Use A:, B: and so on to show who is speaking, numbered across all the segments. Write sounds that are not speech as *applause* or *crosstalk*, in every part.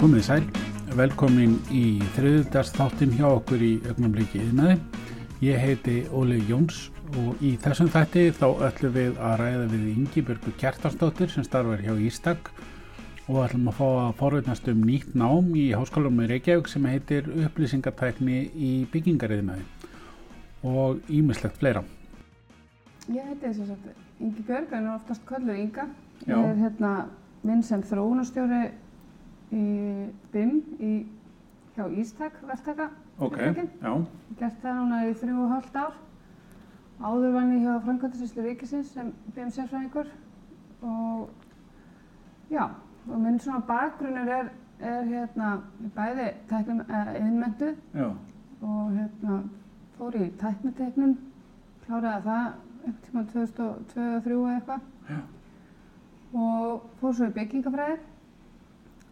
A: Komið sæl, velkomin í þriðdags þáttin hjá okkur í augnumliki yðnaði. Ég heiti Óli Jóns og í þessum þætti þá ætlum við að ræða við Ingi Björgu Kjartarsdóttir sem starfar hjá Ístak og ætlum að fá að forveitnast um nýtt nám í háskólum í Reykjavík sem heitir upplýsingatækni í byggingariðnaði og ímislegt fleira.
B: Ég heiti þess að Ingi Björg en er oftast kallur Inga.
A: Já.
B: Ég er hérna minn sem þróunastjóri í BIM í, hjá Ístak verktaka. fyrirtæki.
A: já,
B: Ég hef Gert það núna í þrjú og hálft ár. Áður vann ég hjá Frankvæmtisvíslu Ríkisins sem BIM sérfræðingur og já, og minn svona bakgrunnur er, er hérna bæði tæknum eh, innmentu
A: já,
B: og hérna fór í tækniteknum, kláraði það einhvern tíma 2002 eða 2003 eða eitthvað
A: Já.
B: og fór svo í byggingafræði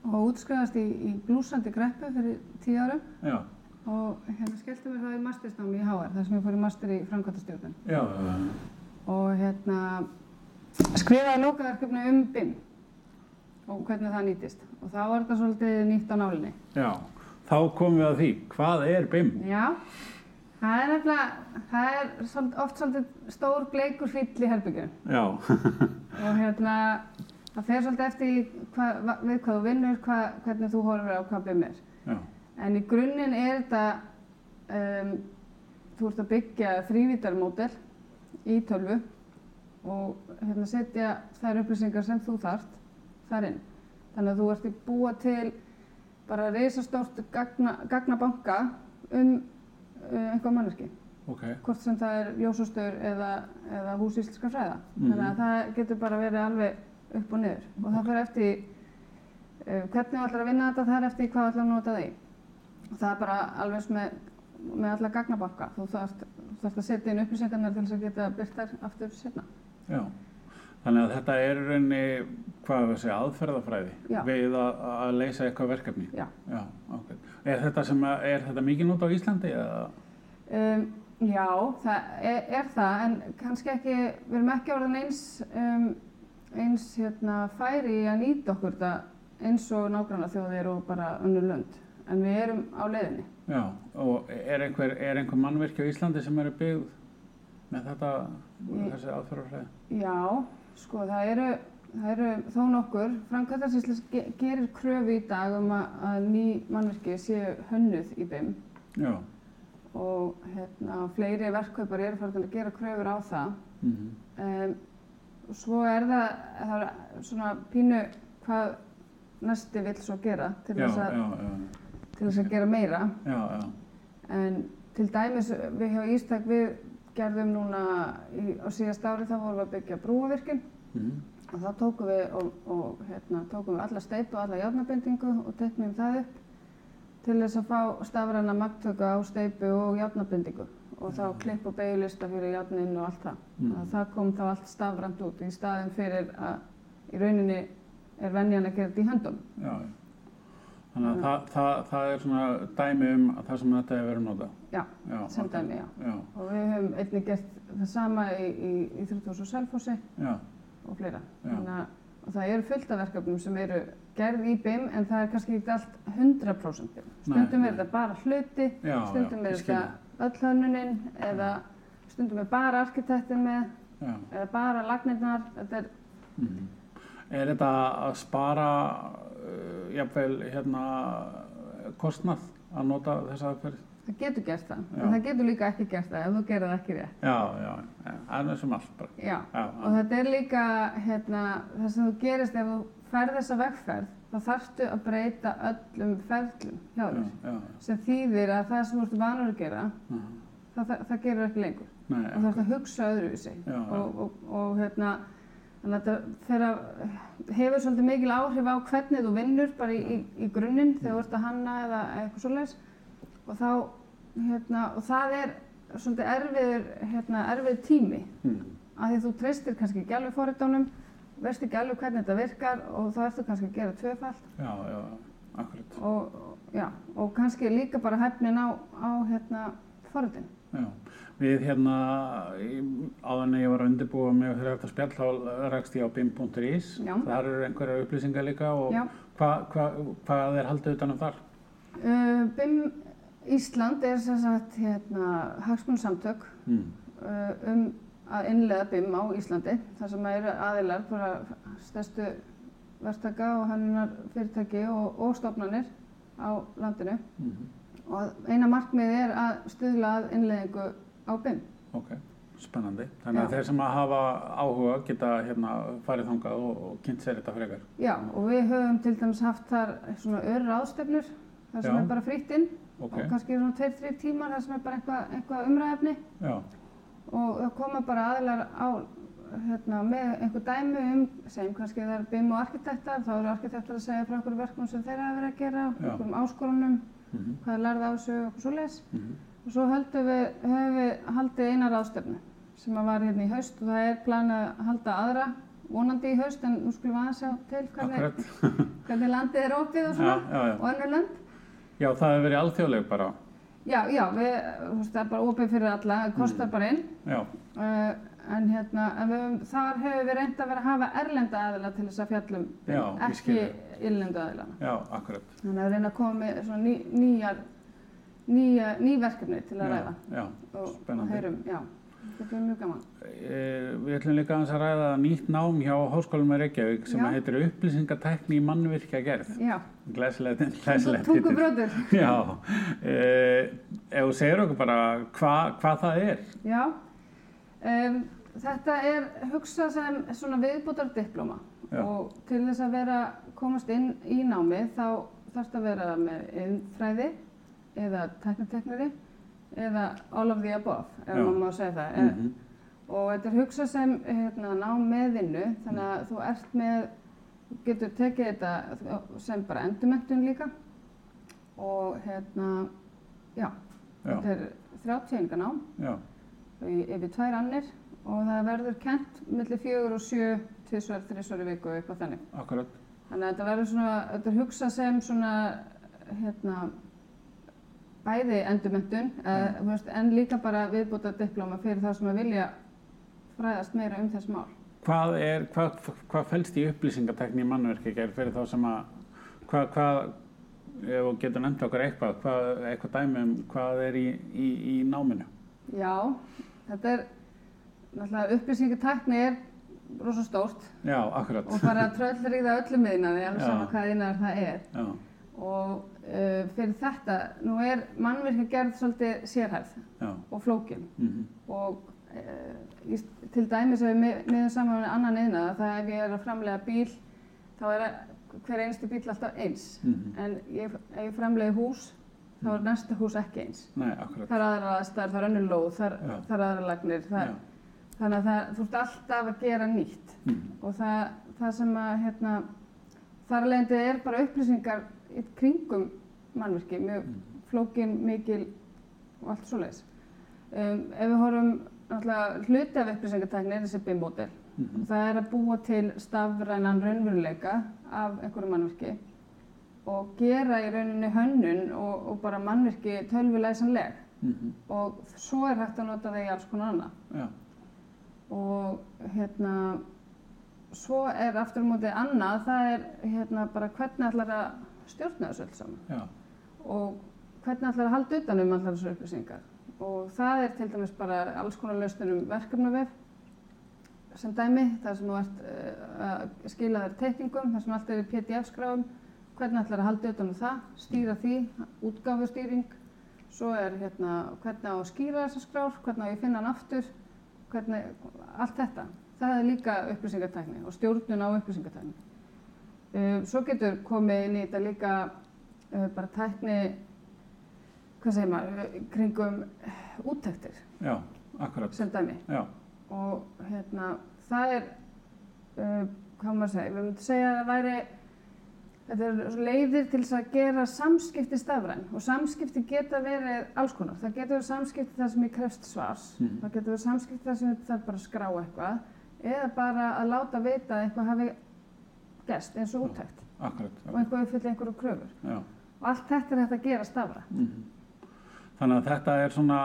B: og útskrifast í, í blúsandi greppu fyrir tíu árum
A: já,
B: og hérna skellti mér það í mastersnámi í HR þar sem ég fór í master í framkvæmtastjórnun
A: já,
B: og hérna skrifaði lókaverkefni um BIM og hvernig það nýtist og þá var þetta svolítið nýtt á nálinni
A: já. Þá komum við að því, hvað er BIM? *laughs*
B: Já, það er nefnilega, það er svol- oft svolítið stór bleikur fýll í herbyggjum
A: Já,
B: og hérna, það fer svolítið eftir í hva, va- við hvað þú vinnur, hva, hvernig þú horfir á hvað bim er.
A: já,
B: En í grunninn er þetta, um, þú ert að byggja þrývítarmódel í tölvu og hérna setja þær upplýsingar sem þú þarft þar inn. Þannig að þú ert að búa til bara reysastort gagna, gagnabanka um uh, einhver manneski
A: ok,
B: hvort sem það er ljósastur eða, eða hús íslenska fræða.
A: Mhm.
B: Þannig að það getur bara verið alveg upp og niður. Og það fyrir eftir uh, hvernig þú ætlar að vinna þetta, það er eftir í hvað þú ætlar að nota því. Og það er bara alveg eins með, með alla gagnabanka. Þú þarft, þú þarft að setja inn upplýsingarnar til þess að geta byrtar aftur setna.
A: já. Þannig að þetta er í rauninni, hvað við segja, aðferðafræði
B: Já.
A: við að, að leysa eitthvað verkefni.
B: Já.
A: Já, ok. Er þetta, sem að, er þetta mikið nút á Íslandi? Eða?
B: Um, já, það er, er það, en kannski ekki, við erum ekki orðin eins, um, eins hérna, færi í að nýta okkur þetta eins og nágranna þjóðir og bara önnur lönd. En við erum á leiðinni.
A: Já, og er einhver, er einhver mannverki á Íslandi sem eru byggð með þetta,
B: Í-
A: þessi aðferðafræði?
B: Já, sko, það eru, það eru þó nokkur. Framkvæmdarsýslis gerir kröfu í dag um að, að ný mannverki séu hönnuð í BIM
A: Já.
B: og hérna, fleiri verkkaupar eru farin að gera kröfur á það.
A: Mm
B: Um, svo er það, það er svona pínu hvað næsti vill svo gera til
A: Já,
B: þess
A: já,
B: að,
A: já,
B: til þess að gera meira.
A: já, já,
B: En til dæmis við hjá Ístak við gerðum núna í, á síðast ári þá vorum við að byggja brúavirkinn
A: Mhm.
B: og þá tókum við, og, og, hérna, tókum við alla steipu og alla járnabindingu og teknum það upp til þess að fá stafræna magtöku á steipu og járnabindingu og
A: Mm.
B: þá klipp og beigulista fyrir járnin og allt það.
A: mhm.
B: Mm. Það kom þá allt stafrænt út í staðin fyrir að í rauninni er venjan að gera þetta í höndum.
A: já, já. Þannig að það, það, það er svona dæmi um að það sem þetta hefur verið nota.
B: Já,
A: Já,
B: sem
A: ok.
B: dæmi, já.
A: Já,
B: Og við höfum einnig gert það sama í, í, í 30 og Selfossi
A: já,
B: og fleira.
A: Já.
B: Þannig að og það eru fullt af verkefnum sem eru gerð í BIM en það er kannski ekki allt 100% BIM. Stundum
A: Nei,
B: er þetta bara hluti,
A: já,
B: stundum
A: já,
B: er
A: ég skil.
B: þetta öll hönnuninn eða stundum er bara arkitektin með
A: Já.
B: eða bara lagnirnar. Þetta er,
A: Mhm. Er þetta að spara uh, jafnvel hérna kostnað að nota þessa aðferð?
B: það getur gert það,
A: Já.
B: en það getur líka ekki gert það ef þú gerir það ekki rétt.
A: Já, já, það er sem allt bara.
B: Já.
A: Já,
B: Og þetta er líka hérna, það sem þú gerist ef þú ferð þessa vegferð, þá þarftu að breyta öllum ferlum hjá
A: já,
B: þér.
A: já,
B: Sem þýðir að það sem þú ert vanur að gera,
A: já.
B: það, það, það gerur ekki lengur.
A: Nei,
B: og þú ert að hugsa öðruvísi
A: Já, já.
B: og, og, og hérna þannig að þetta fer að hefur svolítið mikil áhrif á hvernig þú vinnur bara í, í, í grunninn þegar þú ert að hanna eða eitthvað svoleiðis og þá hérna og það er svolítið erfiður hérna erfið tími
A: Mhm.
B: af því að þú treystir kannski ekki alveg forritunum veist ekki alveg hvernig þetta virkar og þá ertu kannski að gera tvöfalt
A: já, já, akkurat.
B: og, og, já, og kannski líka bara hefnin á, á hérna forritin.
A: Já, við hérna, í- áður en ég var að undirbúa mig fyrir þetta spjall, þá rakst ég á bim.is,
B: Já.
A: þar eru einhverjar upplýsingar líka og
B: Já.
A: hvað hva, hvað er haldið utanum þar?
B: Uh, BIM Ísland er sem sagt hérna hagsmunsamtök
A: Mm.
B: uh, um að innlega BIM á Íslandi þar sem eru aðilar bara stærstu verktaka og hannunar fyrirtæki og, og stofnanir á landinu
A: Mm.
B: og eina markmið er að stuðla að innlegingu á BIM.
A: Ok, spennandi. Þannig að
B: Já.
A: þeir sem að hafa áhuga geta hérna farið þangað og, og kynnt sér þetta frekar.
B: Já, og við höfum til dæmis haft þar svona örra ástefnur þar sem
A: Já.
B: er bara frítt inn
A: Ok,
B: og kannski svona 2-3 tímar þar sem er bara eitthvað eitthva umræðefni
A: já,
B: og það koma bara aðilar á hérna, með einhver dæmi um segjum kannski það er BIM og arkitektar þá eru arkitektar að segja frá okkur verkum sem þeirra hafa verið að gera,
A: Já.
B: okkur áskorunum
A: Mhm.
B: hvað er lærið á þessu og okkur svoleiðis
A: Mhm.
B: og svo höldum við, höfum við haldið eina ráðstefnu sem að var hérna í haust og það er planið að halda aðra vonandi í haust en nú skulum við aðeins sjá til
A: akkurat.
B: hvernig, hvernig landið er opið og
A: já,
B: svona
A: já, já.
B: og önnur lönd
A: já, það hefur verið alþjóðleg bara.
B: Já, já, við, þú veist, það er bara opið fyrir alla,
A: Mm.
B: það kostar bara inn
A: Já,
B: Uh, en hérna, en við, höfum- þar hefur við reynd að vera að hafa erlenda aðila til þess að fjallum,
A: Já, ég
B: ekki
A: skil.
B: innlendu aðila.
A: já, akkurat.
B: Þannig að við reyna að koma með svona ný, nýjar, nýja, ný verkefni til að ræða.
A: Já, já.
B: Og,
A: spennandi.
B: Og heyrum, já, þetta er mjög gaman.
A: Eh, Við ætlum líka aðeins að ræða nýtt nám hjá Háskólum í Reykjavík sem
B: Já.
A: að heitir upplýsingatækni í mannvirkjagerð.
B: Já,
A: Glæsilegt, glæsilegt titill.
B: tungubröður.
A: Já, eh, ef þú segir okkur bara hva, hvað það er.
B: Já, um, þetta er hugsað sem svona viðbútar diploma
A: Já.
B: og til þess að vera, komast inn í námi þá þarfst að vera með innfræði eða tekniteknari eða all of the above, ef
A: Já.
B: maður má segja það.
A: Mm
B: Mm Og þetta er hugsað sem hérna, nám með vinnu, þannig að þú ert með, þú getur tekið þetta sem bara endurmentun líka og hérna, já,
A: Já,
B: þetta er 30 enga nám
A: já,
B: í- yfir tvær annir og það verður kent millir fjögur og sjö, tvisvar, þrisvar í viku og eitthvað þannig.
A: akkurat.
B: Þannig að þetta verður svona, þetta er hugsað sem svona, hérna, bæði endurmentun,
A: Mm.
B: mm. veist, en líka bara viðbúta diplóma fyrir þá sem að vilja fræðast meira um þess mál.
A: Hvað er, hvað, hvað felst í upplýsingatækni í mannverkjagerð fyrir þá sem að, hvað, hvað, ef þú getur nefnt okkur eitthvað, hvað, eitthvað dæmi um hvað er í, í, í náminu?
B: Já, þetta er, náttúrulega upplýsingatekni er rosa stórt
A: Já, akkurat.
B: og bara tröllriða öllum yðnaði, alveg
A: Já.
B: saman hvað yðnaðar það er.
A: Já,
B: og uh, fyrir þetta, nú er mannverkja gerð svolítið sérhæð
A: já,
B: og flókin
A: mhm,
B: og uh, í, til dæmis ef við mið- miðum saman með annan einað það ef ég er að framlega bíl þá er að- hver einstu bíl alltaf eins
A: mhm.
B: en ég, ef ég framlega hús þá er næsta hús ekki eins
A: Nei, akkurat.
B: það er aðra aðstæður, það er önnur lóð, það er,
A: Já.
B: það er aðra lagnir það,
A: Já,
B: þannig að það, þú ert alltaf að gera nýtt
A: mhm,
B: og það, það sem að hérna, þar alvegndi er bara upplýsingar í kringum mannverki, mjög flókin, mikil og allt svoleiðis. Um, ef við horfum náttúrulega hluti af upplýsingartækni er þessi BIM-módel.
A: mhm,
B: Það er að búa til stafrænan raunveruleika af einhverju mannverki og gera í rauninni hönnun og, og bara mannverki tölvulæsanleg
A: mhm,
B: og svo er hægt að nota það í alls konar annað
A: já,
B: og hérna svo er aftur á móti annað það er hérna bara hvernig ætlar að stjórna þessu öll saman
A: já,
B: og hvernig ætlar að halda utan um allar þessu upplýsingar og það er til dæmis bara alls konar lausnir um verkefnavef sem dæmi þar sem þú ert eh, að skila þér teikningum, þar sem allt er í pdf-skráum hvernig ætlar að halda utan um það, stýra því, útgáfustýring svo er hérna hvernig á að skýra þessar skrár, hvernig á ég að finna hann aftur hvernig, allt þetta það er líka upplýsingartækni og stjórnun á upplýsingartækni um, svo getur komið inn í þetta líka uh, bara tækni hvað segir maður, eh, kringum úttektir
A: já, akkurat.
B: sem dæmi
A: Já,
B: og hérna, það er uh, hvað maður segja, við myndum segja að það væri þetta er leiðir til þess að gera samskipti stafræn og samskipti geta verið alls konar, það getur verið samskipti þar sem ég krefst svars,
A: Mhm.
B: það getur verið samskipti þar sem ég þarf bara að skrá eitthvað eða bara að láta vita að eitthvað hafi gerst eins og úttækt
A: akkurat.
B: og eitthvað uppfyllir einhverju kröfur
A: Já.
B: og allt þetta er hægt að gera stafræn
A: Mhm. Þannig að þetta er svona,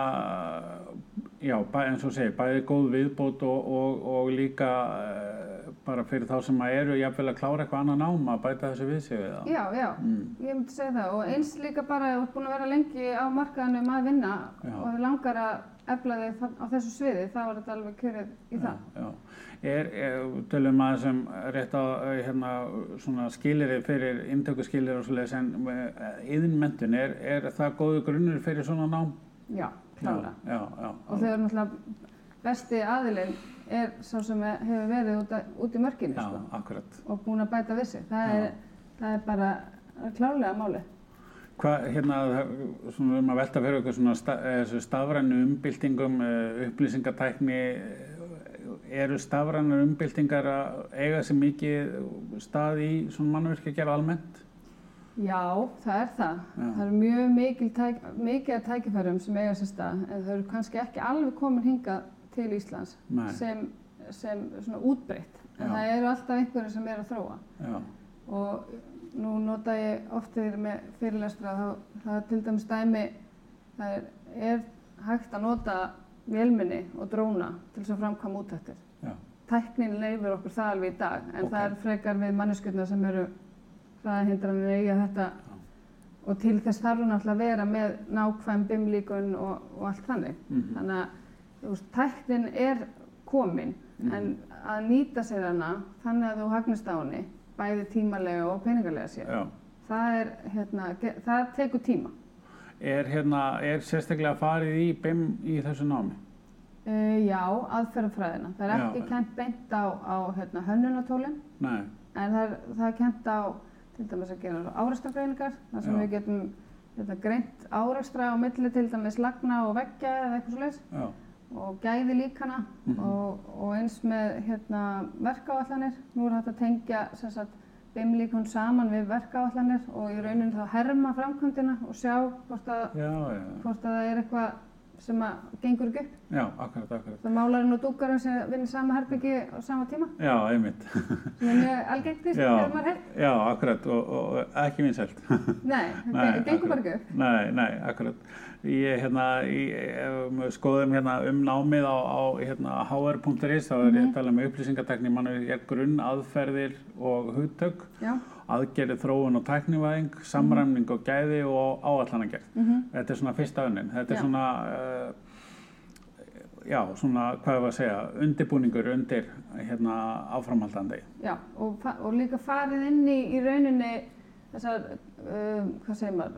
A: já, bæ- eins og segi, bæði góð viðbót og, og, og líka eh, bara fyrir þá sem að eru jafnvel að klára eitthvað annað nám að bæta þessu við sig við það.
B: Já, já, ég myndi segja það og eins líka bara að þú ert búin að vera lengi á markaðanum að vinna
A: Já.
B: og þið langar að efla þig þa- á þessu sviði, þá er þetta alveg kjörið í það.
A: Já, já. Er, er, tölum að þessum rétt á eh, hérna, svona skilirið fyrir, inntöku skilirið og svoleiðis, en yðinmendun, er, er það góðu grunnur fyrir svona nám?
B: Já, klára.
A: Já, já, já.
B: Og þau eru náttúrulega besti aðilinn er sá sem hefur verið út, að, út í mörkinu
A: já,
B: sko,
A: akkurat.
B: og búin að bæta vissi. Það,
A: Já.
B: er, það er bara klárlega máli.
A: Hvað, hérna, það- svona við erum að velta fyrir okkur svona sta, eh, þessu stafrænu umbyltingum, eh, upplýsingatækni, eh, eru stafrænar umbyltingar að eiga sér mikið stað í svona mannverkja gera almennt?
B: Já, það er það.
A: Já.
B: Það eru mjög mikil tæk, mikið af tækifærum sem eiga sér stað en þau eru kannski ekki alveg komin hingað til Íslands
A: Nei,
B: sem, sem svona útbreytt. En
A: Já.
B: það eru alltaf einhverjir sem eru að þróa.
A: já,
B: Og nú nota ég oft þegar ég er með fyrirlestra þá það er til dæmis dæmi það er, er hægt að nota vélminni og dróna til þess að framkvæma útættir.
A: já,
B: Tæknin leifir okkur það alveg í dag en
A: Ok.
B: það er frekar við manneskjöldna sem eru hraðahindranir eiga þetta og til þess þarf hún alltaf að vera með nákvæm bimlíkun og, og allt þannig.
A: mhm,
B: Þannig að þú veist, tæknin er komin
A: Mm.
B: en að nýta sér hana þannig að þú hagnist á henni bæði tímalega og peningalega sér.
A: já. Mm.
B: Það, er, hérna, ge- það tekur tíma.
A: Er, hérna, er sérstaklega farið í BIM í þessu námi?
B: Uh, já, aðferðafræðina. Það er
A: Já.
B: ekki kent beint á, á hérna, hönnunatólin
A: Nei,
B: en það er, það er kent á til dæmis að gera árastagreiningar þar sem
A: Já.
B: við getum hérna, greint árastra á milli til dæmis lagna og veggja eða eitthvað svo
A: já,
B: og gæði líkana
A: Mhm.
B: og, og eins með hérna, verkáallanir. Nú er hægt að tengja sem sagt, BIM-líkun saman við verkáallanir og í rauninni þá herma framkvæmdina og sjá hvort að,
A: já, já,
B: hvort að það er eitthvað sem að gengur ekki upp.
A: já, akkurat, akkurat.
B: Það málarinn og dúkarinn sem vinna í sama herbyggi á sama tíma
A: Já, einmitt, *laughs*
B: sem er mjög algengt því sem
A: Já.
B: þegar maður heyrt.
A: já, akkurat og, og og ekki vinsælt. *laughs*
B: Nei,
A: Nei,
B: þetta gengur bara
A: akkurat.
B: ekki upp.
A: Nei, nei, akkurat. Ég, hérna, ég, um, skoðum hérna um námið á, á hérna, hr.is, þá er ég
B: Mhm.
A: að tala um upplýsingatekni, mann er grunn, aðferðir og hugtök,
B: Já,
A: aðgerið þróun og tæknivæðing, samræmning og gæði og áallanagerð.
B: mhm,
A: Þetta er svona fyrsta önnin. Þetta er
B: Já.
A: svona, uh, já, svona, hvað hefur að segja, undirbúningur undir hérna áframhaldandi.
B: já. Og, fa- og líka farið inn í, í rauninni þessar, um, hvað segir maður,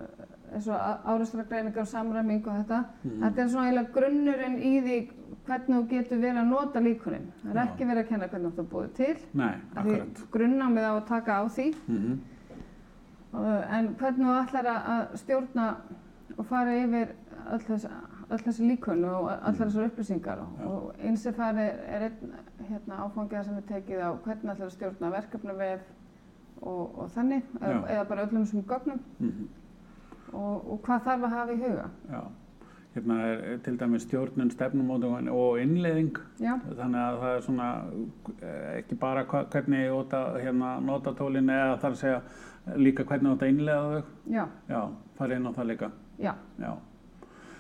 B: eins og árastagreiningar og samræming og þetta.
A: Mhm.
B: Þetta er svona eiginlega grunnurinn í því hvernig þú getur verið að nota líkunin. Það er
A: Já.
B: ekki verið að kenna hvernig þú búið til.
A: Nei,
B: af því
A: akkurat.
B: Grunnámið á að taka á því.
A: Mm
B: Uh, En hvernig þú ætlar að- að stjórna og fara yfir öll þess, öll þessi líkun og allar þessar upplýsingar.
A: Mm. Já.
B: Og eins er farið er einn hérna, áfangið sem er tekið á hvernig ætlar að stjórna verkefnavef og, og þannig. Eða,
A: Já.
B: eða bara öllum þessum gögnum
A: Mhm.
B: og, og hvað þarf að hafa í huga.
A: Já. Hérna er til dæmis stjórnun, stefnumótum og innleiðing.
B: Já,
A: Þannig að það er svona eh, ekki bara hva, hvernig ég óta hérna notatólin eða þar að segja líka hvernig óta innleiða þau.
B: já,
A: Já, farið inn á það líka.
B: já.
A: Já,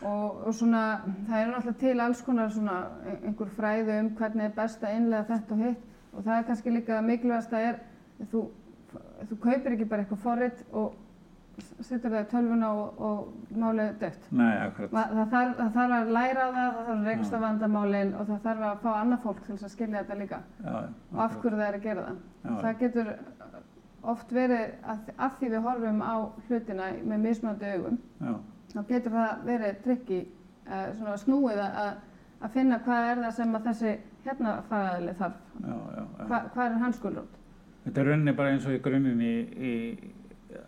B: Og, og svona, það eru náttúrulega til alls konar svona ein- einhver fræði um hvernig er best að innlega þetta og hitt og það er kannski líka mikilvægast að er þú, þú kaupir ekki bara eitthvað forrit og s- setur það í tölvuna og, og málið er dött.
A: nei, akkurat.
B: Ma- Það þarf, það þarf að læra á það, það þarf að reksta vandamálin og það þarf að fá annað fólk til þess að skilja þetta líka
A: Já,
B: og af hverju það er að gera það.
A: Já, já.
B: Það getur oft verið að, að því við horfum á hlutina með mismöndi augum
A: já,
B: þá getur það verið trikki uh, svona snúið að, að- að finna hvað er það sem að þessi hérna fagaðileg þarf,
A: já, já, já.
B: Hva, hvað er hans gulrót?
A: Þetta er rauninni bara eins og í grunninn í, í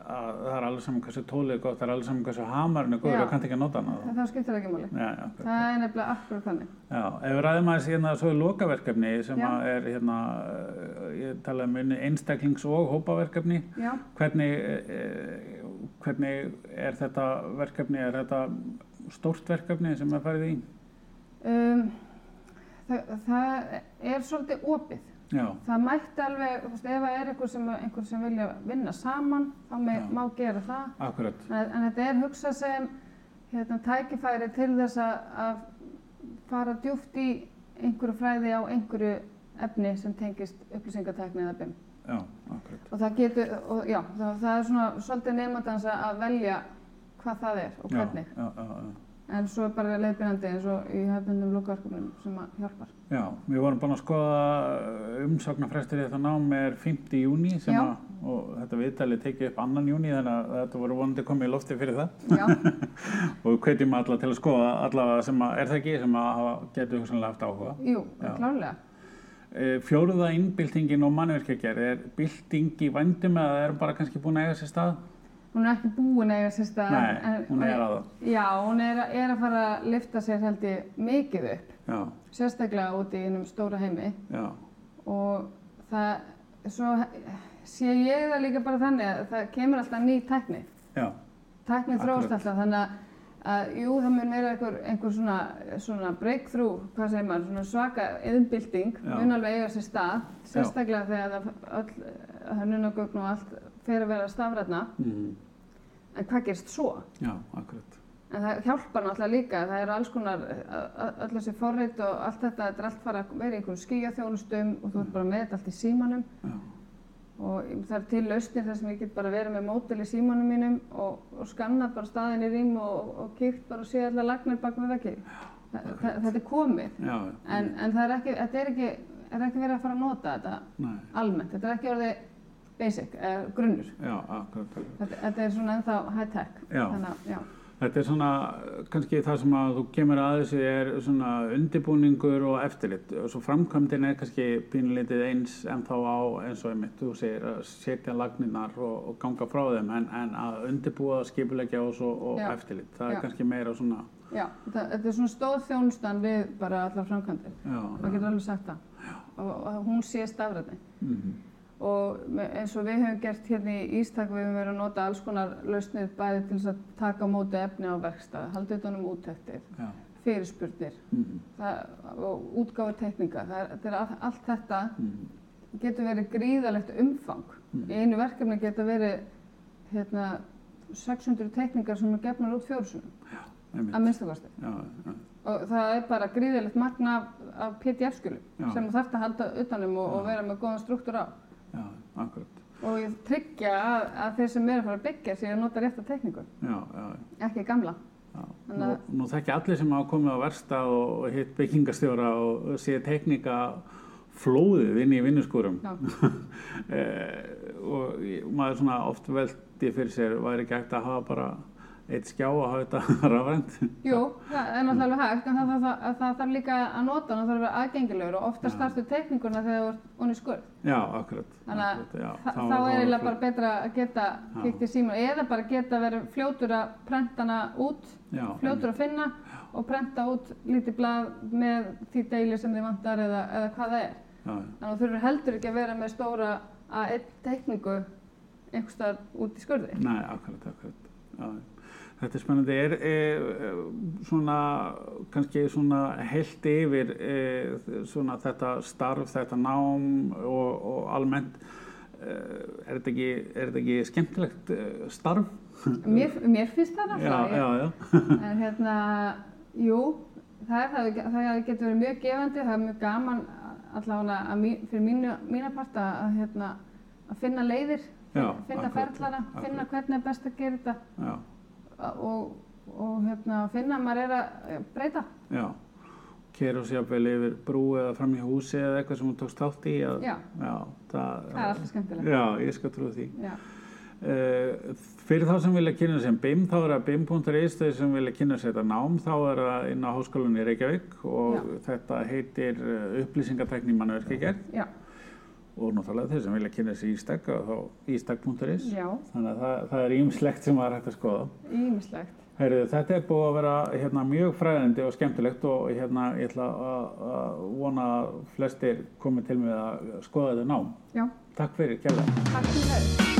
A: að það er alveg saman hversu tólið er gott, það er alveg saman hversu hamarinn er góður
B: Já.
A: og kannski ekki að nota hana þá.
B: Það, það skiptir ekki máli.
A: Já, já, akkurat.
B: Það er nefnilega akkur þannig.
A: já, ef við ræðum aðeins hérna svo í lokaverkefni sem
B: Já.
A: að er hérna, eh, ég talaði um unni einstaklings- og hópaverkefni,
B: Já,
A: hvernig, eh, hvernig er þetta verkefni, er þetta stórt verkefni sem er farið í?
B: um, það, það er svolítið opið.
A: Já,
B: Það mætti alveg, þú veist, ef það er einhver sem, einhver sem vilja vinna saman, þá með,
A: Já.
B: má gera það.
A: akkurat,
B: En, en þetta er hugsað sem hérna, tækifæri til þess að að fara djúft í einhverju fræði á einhverju efni sem tengist upplýsingatækni eða BIM.
A: já, akkurat.
B: Og það getur, og, já, það, það er svona svolítið nefndans að velja hvað það er og hvernig.
A: Já, já, já, já.
B: En svo er bara leiðbyrjandi eins og í hefðbundum lokaverkefnum sem að
A: *laughs*
B: hjálpar.
A: Já, við vorum búin að skoða umsóknarfrestur í þetta nám er 5. júni sem
B: Já.
A: að, og þetta viðtalið tekið upp 2. júni þannig að þetta voru vonandi komið í lofti fyrir það
B: Já,
A: og við hvetjum alla til að skoða allavega sem að, er það ekki sem að hafa, getur hugsanlega haft áhuga.
B: jú,
A: Já.
B: klárlega.
A: Eh, Fjóruða innbyltingin og mannverkjargerð er bylting í vændum eða er hún bara kannski búin að eiga sér stað?
B: Hún er ekki búin að eiga sérsta...
A: Nei, hún er að það.
B: Já, hún er, að- er að fara að lifta sér held ég mikið upp,
A: Já,
B: sérstaklega út í einum stóra heimi
A: já,
B: og það, svo he- sé ég það líka bara þannig að það kemur alltaf ný tækni.
A: já,
B: Tækni
A: Akkurat.
B: þróast alltaf þannig að, að jú, það mun vera einhver, einhver svona, svona breakthrough, hvað segir maður, svona svaka yðnbylting,
A: Já.
B: mun alveg eiga sér stað, sérstaklega þegar það öll, hönnunagögn og allt fer að vera stafrætna,
A: mm,
B: en hvað gerst svo?
A: já, akkurat.
B: En það hjálpar náttúrulega líka, það eru alls konar, ö- ö- öll þessi forrit og allt þetta, þetta er allt fara að vera í einhverjum skíjaþjónustum og þú ert bara með þetta allt í símanum
A: Já,
B: og það er til lausnir þar sem ég get bara verið með mótel í símanum mínum og, og skannað bara staðin í rým og, og kíkt bara og sé allar lagnir bak við veggi. Þa- þa- Þetta er komið,
A: já,
B: en, en það er ekki, þetta er ekki, er ekki verið að fara að nota þetta
A: nei,
B: almennt, þetta er ekki orðið basic, eh, grunnur.
A: já, akkurat, akkurat.
B: Þetta, þetta er svona ennþá high tech,
A: Já.
B: þannig að, já.
A: Þetta er svona, uh, kannski það sem að þú kemur að þessu er svona undibúningur og eftirlit og svo framkvæmdin er kannski pínlítið eins en þá á eins og einmitt þú segir að setja lagninar og, og ganga frá þeim en, en að undibúa, skipulegja og, svo, og
B: Já.
A: eftirlit, það
B: Já.
A: er kannski meira svona,
B: Já, þetta, þetta er svona stóð þjónustan við bara allar framkvæmdir.
A: já,
B: Það getur alveg sagt það. Og, og hún sé stafræði.
A: mhm,
B: Og me- eins og við höfum gert hérna í Ístak, við höfum verið að nota alls konar lausnir bæði til þess að taka á móti efni á verkstæði, haldið utanum um úttektir,
A: já,
B: fyrirspurnir
A: mhm,
B: það, og útgáfi tekninga. Það er, þetta er all, allt þetta
A: mhm,
B: getur verið gríðalegt umfang. Í einu verkefni getur verið hérna, 600 tekningar sem er gefnar út fjórusunum,
A: einmitt,
B: að minnstakosti.
A: já, já,
B: og það er bara gríðilegt magna af, af
A: Já.
B: PDF-skjölum sem þú þarft að halda utanum og, og vera með góðan struktúr á
A: já, akkurat,
B: og ég tryggja að, að þeir sem eru að fara að byggja séu að nota rétta tekningu,
A: já, já, já.
B: ekki gamla
A: Já,
B: Þannig
A: Nú,
B: að-
A: nú þekki allir sem hafa komið á verstað og og hitt byggingastjóra og sé teknika flóðið inn í vinnuskúrum
B: Já.
A: *laughs* eh, og ég- maður svona oft veldi fyrir sér væri ekki hægt að hafa bara eitt skjá og hafa þetta *laughs* rafrænt
B: Jú, það er náttúrulega alveg hægt en það, það, það, það, það þarf líka að nota hann og það þarf að vera aðgengilegur og ofta startu tekninguna þegar þú ert onni skurð
A: Já, akkurat
B: þannig að
A: akkurat, já,
B: þa-
A: þá- þá
B: þá er eiginlega
A: fló-
B: bara betra að geta
A: Já.
B: kíkt í síma eða bara geta verið fljótur að prenta hana út
A: já,
B: fljótur að finna og prenta út lítið blað með því deili sem þið vantar eða, eða hvað það er.
A: já,
B: Þannig að þú þurfur heldur ekki að vera með stóra A1 teikningu einhverstaðar út í skurði.
A: Nei, akkurat, akkurat já. Þetta er spennandi, er, er svona, kannski svona heilt yfir er, svona þetta starf, þetta nám og, og almennt eh, er þetta ekki, er þetta ekki skemmtilegt eh, starf?
B: Mér, mér finnst það
A: Mm. já,
B: náttúrulega.
A: já,
B: En hérna, jú, það, er, það, er- það getur verið mjög gefandi, það er mjög gaman allavega að mí, fyrir mínu, mína parta að, hérna, að finna leiðir,
A: Já,
B: finna
A: akkurat,
B: ferlana, finna
A: akkurat.
B: hvernig er best að gera þetta
A: já,
B: og, og hérna, finna að maður er að eh, breyta.
A: já. Keiru sér vel yfir brú eða fram í húsi eða eitthvað sem hún tókst þátt í? Að,
B: Já.
A: já, það,
B: Það er alltaf skemmtilegt.
A: Já, ég skal trú því.
B: Já.
A: Eh, fyrir þá sem vilja kynna sem BIM þá er það BIM.is þeir sem vilja kynna sér þetta nám þá er það inn á háskólan í Reykjavík og
B: Já.
A: þetta heitir eh, upplýsingatekni mannverkigerð
B: Já,
A: og náttúrulega þeir sem vilja kynna sér ístak þá ístak.is
B: já,
A: þannig að það, það er ímslegt sem var hægt að skoða
B: ímislegt.
A: Heyrðu, þetta er búið að vera hérna, mjög fræðandi og skemmtilegt og hérna, ég ætla að, að vona að flestir komi til með að skoða þetta nám
B: Já,
A: Takk fyrir, kjærlega
B: takk fyrir þau.